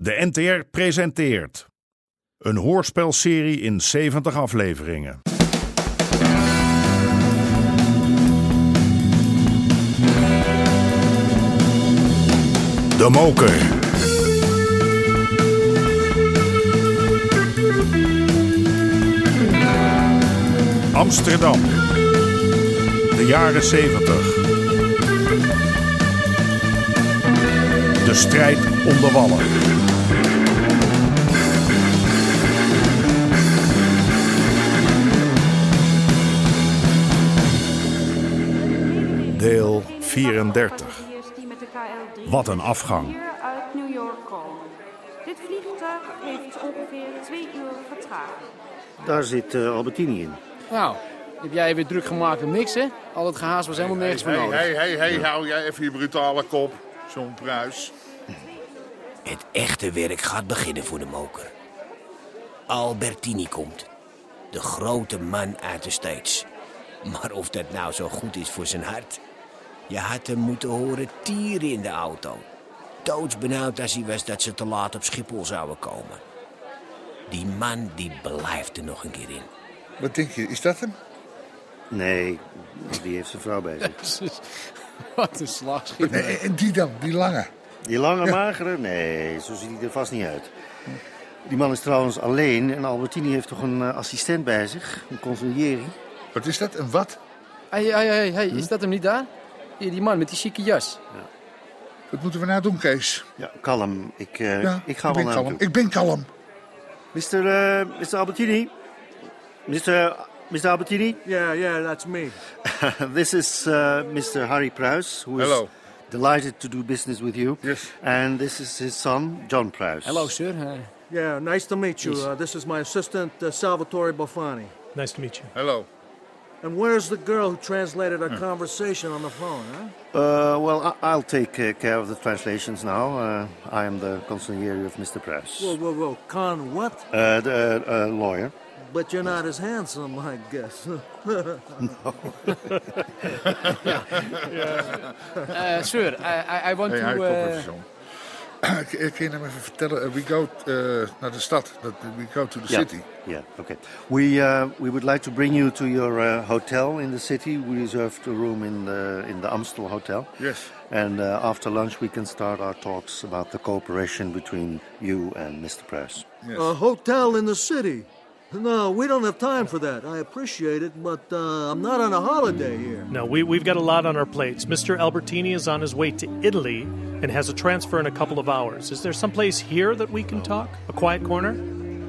De NTR presenteert een hoorspelserie in 70 afleveringen. De Moker. Amsterdam. De jaren 70. De strijd om de wallen. Deel 34. Wat een afgang. Hier uit New York komen. Dit vliegtuig heeft ongeveer twee uur vertraging. Daar zit eh, Albertini in. Nou, heb jij weer druk gemaakt met niks, hè? Al het gehaast was helemaal nergens voor Hé, nodig. hé, hé, hé, hou jij even je brutale kop, zo'n pruis. Het echte werk gaat beginnen voor de moker. Albertini komt. De grote man uit de States. Maar of dat nou zo goed is voor zijn hart. Je had hem moeten horen tieren in de auto. Doodsbenauwd als hij was dat ze te laat op Schiphol zouden komen. Die man die blijft er nog een keer in. Wat denk je, is dat hem? Nee, die heeft zijn vrouw bij zich. Jezus, Wat een slagschip. en die dan, die lange. Die lange magere? Nee, zo ziet hij er vast niet uit. Die man is trouwens alleen en Albertini heeft toch een eh, assistent bij zich, een consulieri. Wat is dat, een wat? Hé, hé, hé, hé, is dat hem niet daar? Hier, die man met die chique jas. Wat moeten we nou doen, Kees? Ja, kalm. Ik, eh, Ja, ik ga wel ben naar hem kalm. toe. Ik ben kalm. Mister, eh, Mister Albertini? Mister, Mister Albertini? Yeah, yeah, that's me. This is uh, Mr. Harry Pruis, who is Hello. delighted to do business with you. Yes. And this is his son, John Pruis. Hallo, sir. Eh, Yeah, nice to meet you. Uh, this is my assistant, uh, Salvatore Bofani. Nice to meet you. Hallo. And where's the girl who translated our conversation on the phone, huh? Uh, well, I- I'll take uh, care of the translations now. Uh, I am the consigliere of Mr. Press. Whoa, whoa, whoa. Con what? Uh, the uh, uh, lawyer. But you're not as handsome, I guess. eh, sir, I, I, I want Hé, hey, to... kom eh, even, John. Ik, ik kan je hem even vertellen. Eh, We go eh, naar de stad. Dat- We go to the Yeah. city. Yeah. Okay. We uh, we would like to bring you to your uh, hotel in the city. We reserved a room in the in the Amstel Hotel. Yes. And uh, after lunch, we can start our talks about the cooperation between you and Mr. Press. a hotel in the city. No, we don't have time for that. I appreciate it, but uh, I'm not on a holiday here. No, we, we've got a lot on our plates. Mr. Albertini is on his way to Italy and has a transfer in a couple of hours. Is there someplace here that we can talk? A quiet corner?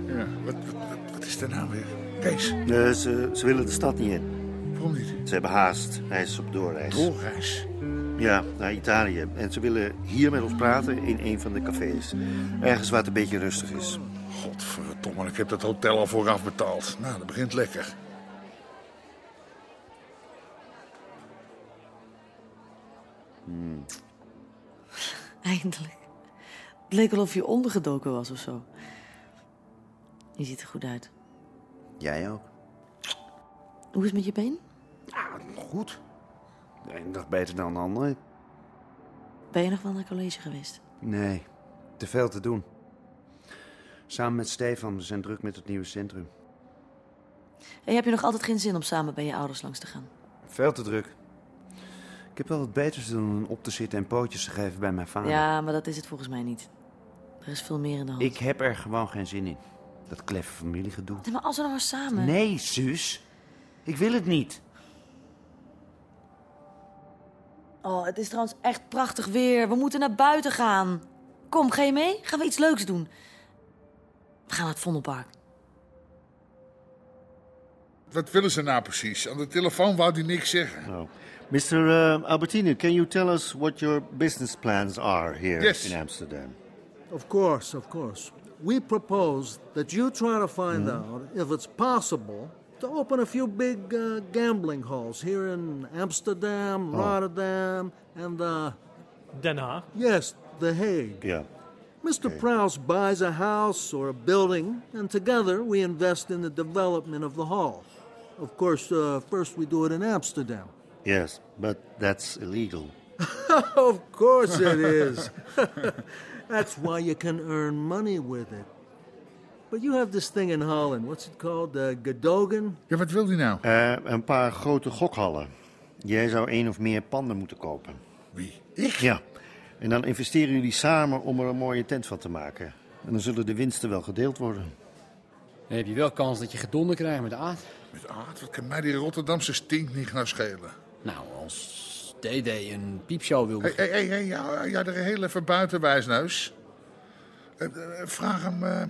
Ja. Wat, wat, wat is er nou weer? Kees, Eh, ze, ze willen de stad niet in. waarom niet? Ze hebben haast. Hij is op doorreis. Doorreis. Ja, naar Italië. En ze willen hier met ons praten in een van de cafés. Ergens waar het een beetje rustig is. Godverdomme, ik heb dat hotel al vooraf betaald. Nou, dat begint lekker. Eindelijk. Het leek alsof je ondergedoken was of zo. Je ziet er goed uit. Jij ook? Hoe is het met je been? Goed. De ene dag beter dan de andere. Ben je nog wel naar college geweest? Nee, te veel te doen. Samen met Stefan, we zijn druk met het nieuwe centrum. En heb je nog altijd geen zin om samen bij je ouders langs te gaan? Veel te druk. Ik heb wel wat beters te doen dan op te zitten en pootjes te geven bij mijn vader. Ja, maar dat is het volgens mij niet. Er is veel meer in de hand. Ik heb er gewoon geen zin in. Dat kleffe familiegedoe. Nee, maar als we nou maar samen... Nee, zus. Ik wil het niet. Oh, het is trouwens echt prachtig weer. We moeten naar buiten gaan. Kom, ga je mee? Gaan we iets leuks doen? We gaan naar het Vondelpark. Wat willen ze nou precies? Aan de telefoon wou hij niks zeggen. Oh. Mr. eh, Albertini, can you tell us what your business plans are here Yes. in Amsterdam? Of course, of course. We propose that you try to find out if it's possible to open a few big uh, gambling halls here in Amsterdam, Rotterdam, and uh, Den Haag. yes, The Hague. Yeah. Mr. Prouse buys a house or a building, and together we invest in the development of the hall. Of course, uh, first we do it in Amsterdam. Yes, but that's illegal. Of course it is. That's why you can earn money with it. But you have this thing in Holland. What's it called? The Gedogen? Ja, wat wil hij nou? Eh, een paar grote gokhallen. Jij zou één of meer panden moeten kopen. Wie? Ja. En dan investeren jullie samen om er een mooie tent van te maken. En dan zullen de winsten wel gedeeld worden. Dan heb je wel kans dat je gedonder krijgt met aard. Met aard? Wat kan mij die Rotterdamse stink niet gaan schelen? Nou, als DD een piepshow wil... Hé, hé, hé, hé, ja, ja, er heel even buiten, wijsneus. Eh, eh, vraag hem eh,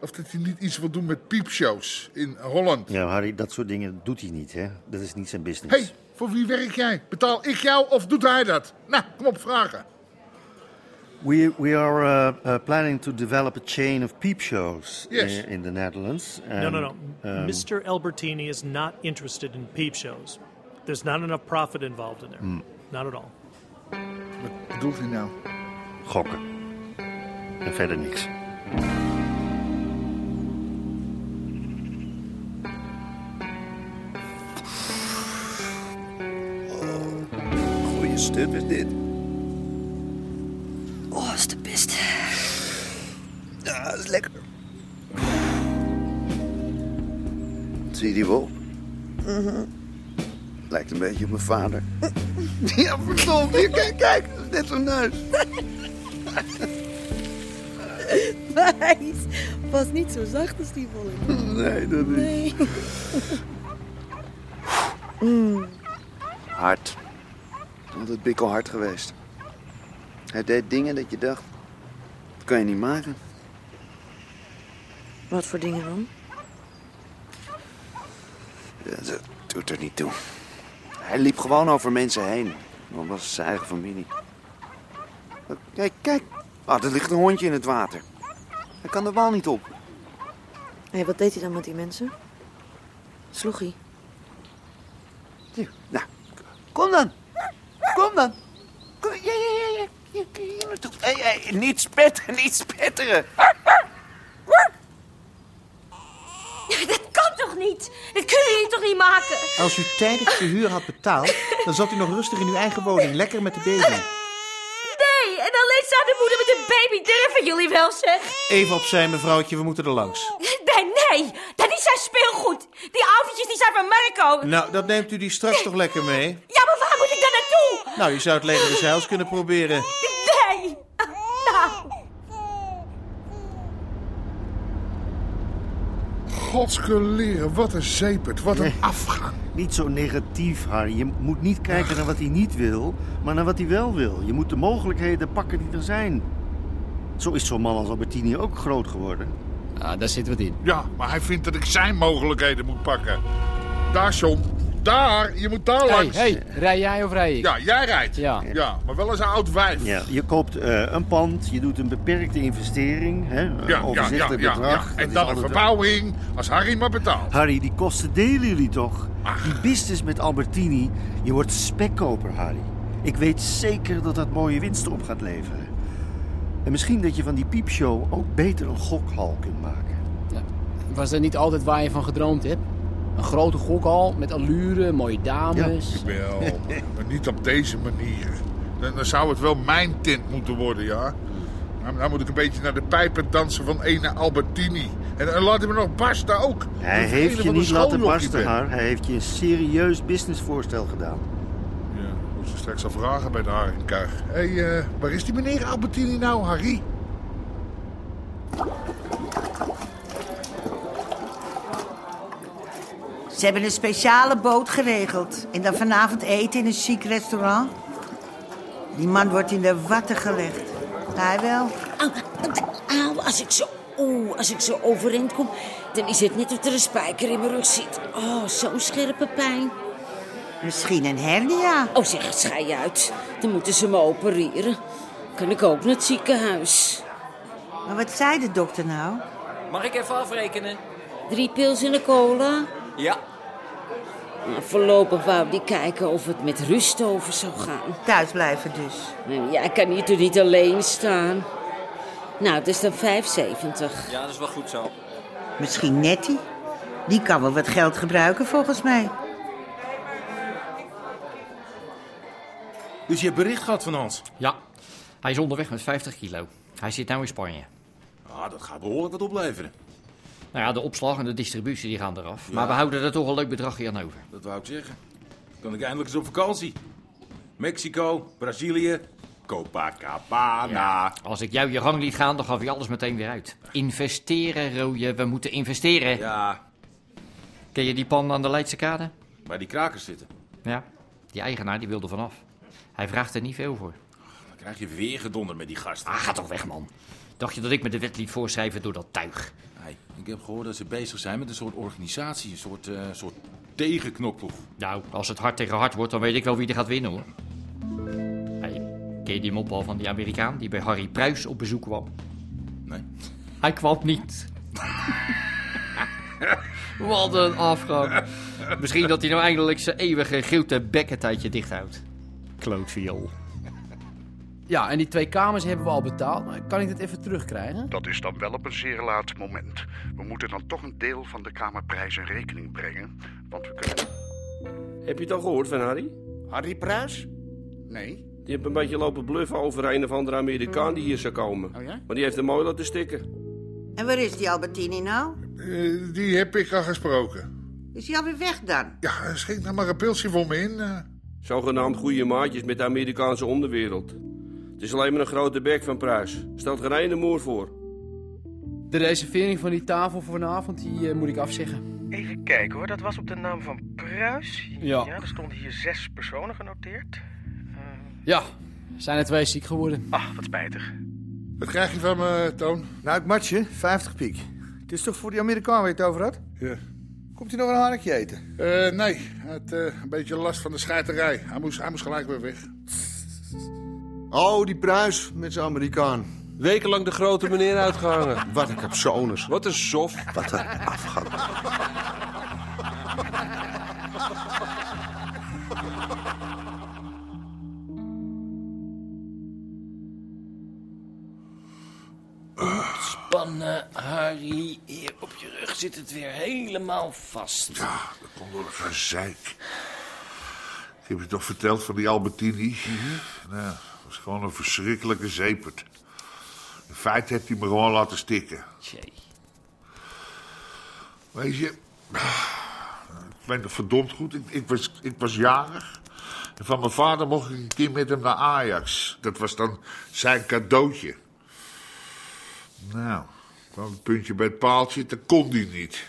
of dat hij niet iets wil doen met piepshows in Holland. Ja, Harry, dat soort dingen doet hij niet, hè? Dat is niet zijn business. Hé, hey, voor wie werk jij? Betaal ik jou of doet hij dat? Nou, kom op, vragen. We, we are uh, uh, planning to develop a chain of peep shows uh, Yes. in, in the Netherlands. No, And, no, no. um, Mr. Albertini is not interested in peep shows. There's not enough profit involved in there. Mm. Not at all. Wat bedoelt hij nou? Gokken. En verder niks. Goeie stup is dit. Oh, is de pest. Ja, dat is lekker. Zie je die wolf? Mhm. Lijkt een beetje op mijn vader. ja, verdomd. Hier, kijk, kijk. Dat is net zo'n neus. Maar hij is- was niet zo zacht als die volle. Nee, dat is... Nee. Mm. Hard. Altijd bikkelhard geweest. Hij deed dingen dat je dacht... Dat kan je niet maken. Wat voor dingen dan? Ja, Dat doet er niet toe. Hij liep gewoon over mensen heen. Dan was het zijn eigen familie. Kijk, kijk. Ah, er ligt een hondje in het water. Hij kan de wal niet op. Hé, wat deed hij dan met die mensen? Sloeg hij? Hier, Nou, kom dan. Kom dan. Kom, ja, ja, ja, ja. Hier, hier naartoe. Hé, hé, niet spetteren, niet spetteren. Dit kan toch niet? Dit kunnen jullie toch niet maken? Als u tijdig de huur had betaald, dan zat u nog rustig in uw eigen woning, lekker met de baby. Nee, en alleen staat de moeder met een baby. Durven jullie wel, zeg? Even opzij, mevrouwtje, we moeten er langs. Nee, nee. Dat is zijn speelgoed. Die autootjes die zijn van Marco. Nou, dat neemt u die straks toch lekker mee? Ja, maar waar moet ik dan naartoe? Nou, je zou het leger de zeils kunnen proberen. Nee. Nou. Godsgeleren, wat een zeepert, wat een afgaan. Niet zo negatief, Harry. Je moet niet kijken naar wat hij niet wil, maar naar wat hij wel wil. Je moet de mogelijkheden pakken die er zijn. Zo is zo'n man als Albertini ook groot geworden. Ah, daar zit wat in. Ja, maar hij vindt dat ik zijn mogelijkheden moet pakken. Daar, John. Daar, je moet daar Hé, langs. hey, rij jij of rij ik? Ja, jij rijdt. Ja. Ja, maar wel eens een oud wijf. Ja, je koopt eh, een pand, je doet een beperkte investering, hè, een Ja, ja, ja, overzichtelijk ja, bedrag. ja. Dat En is dan een altijd wel- verbouwing, als Harry maar betaalt. Harry, die kosten delen jullie toch? Die business met Albertini, je wordt spekkoper, Harry. Ik weet zeker dat dat mooie winsten op gaat leveren. En misschien dat je van die piepshow ook beter een gokhal kunt maken. Was dat niet altijd waar je van gedroomd hebt? Een grote gokhal met allure, mooie dames. Wel, maar niet op deze manier. Dan, dan zou het wel mijn tint moeten worden, ja. Maar nou moet ik een beetje naar de pijpen dansen van ene Albertini. En, en laat hem nog barsten ook. Hij Dat heeft ene je van de niet laten schooljokkie barsten, bent. Har. Hij heeft je een serieus businessvoorstel gedaan. Ja, moet ze straks al vragen bij de Harenkuig. Hé, hey, eh, waar is die meneer Albertini nou, Harry? Ze hebben een speciale boot geregeld. En dan vanavond eten in een chic restaurant. Die man wordt in de watten gelegd. Hij wel. Auw, Ah, als ik zo... Oeh, als ik zo overeind kom, dan is het net of er een spijker in mijn rug zit. Oh, zo'n scherpe pijn. Misschien een hernia. Oh, zeg, schei uit. Dan moeten ze me opereren. Kan ik ook naar het ziekenhuis. Maar wat zei de dokter nou? Mag ik even afrekenen? Drie pils en een cola. Ja. Nou, voorlopig wou die kijken of het met rust over zou gaan. Thuis blijven dus. Ja, ik kan hier toch niet alleen staan. Nou, het is dan 75. Ja, dat is wel goed zo. Misschien Nettie. Die kan wel wat geld gebruiken volgens mij. Dus je hebt bericht gehad van ons? Ja, hij is onderweg met 50 kilo. Hij zit nu in Spanje. Ah, dat gaat behoorlijk wat opleveren. Nou ja, de opslag en de distributie die gaan eraf. Ja. Maar we houden er toch een leuk bedragje aan over. Dat wou ik zeggen. Kan ik eindelijk eens op vakantie. Mexico, Brazilië, Copacabana. Als ik jou je gang liet gaan, dan gaf je alles meteen weer uit. Investeren, Rooie. We moeten investeren. Ja. Ken je die pan aan de Leidse kade? Waar die krakers zitten. Ja. Die eigenaar die wilde vanaf. Hij vraagt er niet veel voor. Dan krijg je weer gedonder met die gasten. Ah, ga toch weg, man. Dacht je dat ik me de wet liet voorschrijven door dat tuig? Hey, ik heb gehoord dat ze bezig zijn met een soort organisatie. Een soort, eh, soort tegenknokploeg. Nou, als het hard tegen hard wordt, dan weet ik wel wie er gaat winnen, hoor. Hey, ken je die mop al van die Amerikaan die bij Harry Pruis op bezoek kwam? Nee. Hij kwam niet. Wat een afgang. Misschien dat hij nou eindelijk zijn eeuwige grote bekkentijdje dichthoudt. Klootviool. Ja, en die twee kamers hebben we al betaald. Maar kan ik dit even terugkrijgen? Dat is dan wel op een zeer laat moment. We moeten dan toch een deel van de Kamerprijs in rekening brengen. Want we kunnen. Heb je het al gehoord van Harry? Harry Pruis? Nee. Die heeft een beetje lopen bluffen over een of andere Amerikaan die hier zou komen. Oh ja? Maar die heeft hem mooi laten stikken. En waar is die Albertini nou? Eh, die heb ik al gesproken. Is die alweer weg dan? Ja, schenk nou maar een pilsje voor me in. eh. Zogenaamd goede maatjes met de Amerikaanse onderwereld. Het is alleen maar een grote bek van Pruis. Stelt geen ene moer voor. De reservering van die tafel voor vanavond, die eh, moet ik afzeggen. Even kijken hoor, dat was op de naam van Pruis. Ja. er stonden hier zes personen genoteerd. Ja, zijn er twee ziek geworden. Ach, wat spijtig. Wat krijg je van me, Toon? Nou, het matje, 50 piek. Het is toch voor die Amerikaan waar je het over had? Ja. Komt hij nog een harkje eten? Eh, nee, hij had eh, een beetje last van de scheiterij. Hij moest, hij moest gelijk weer weg. Oh, die pruis met zijn Amerikaan. Wekenlang de grote meneer uitgehangen. Wat een capsones. Wat een sof. Wat een afgang. Ontspannen, eh, Harry. Hier op je rug zit het weer helemaal vast. Dat komt door een gezeik. Ik heb je toch verteld van die Albertini? Nou, dat was gewoon een verschrikkelijke zeepert. In feite heeft hij me gewoon laten stikken. Weet je, ik weet nog verdomd goed. Ik, ik, was, ik was jarig. En van mijn vader mocht ik een keer met hem naar Ajax. Dat was dan zijn cadeautje. Nou, kwam het puntje bij het paaltje, dat kon hij niet.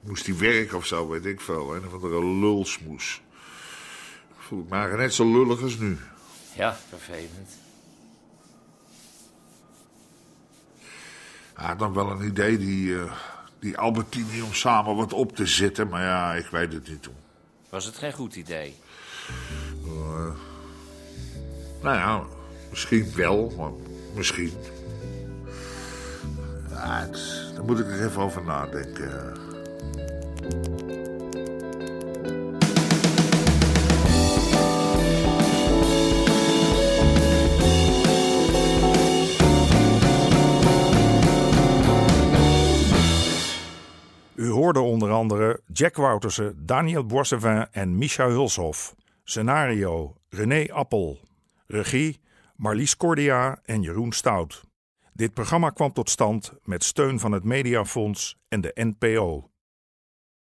Moest hij werken of zo, weet ik veel. Een of andere lulsmoes. Voel ik me eigenlijk net zo lullig als nu. Ja, vervelend. Hij had dan wel een idee, die, eh, die Albertini, om samen wat op te zetten. Maar ja, ik weet het niet toen. Was het geen goed idee? Eh, nou ja, misschien wel, maar misschien. Ja, het- daar moet ik er even over nadenken. U hoorde onder andere Jack Woutersen, Daniel Boissevin en Micha Hulshoff. Scenario René Appel. Regie Marlies Cordia en Jeroen Stout. Dit programma kwam tot stand met steun van het Mediafonds en de NPO.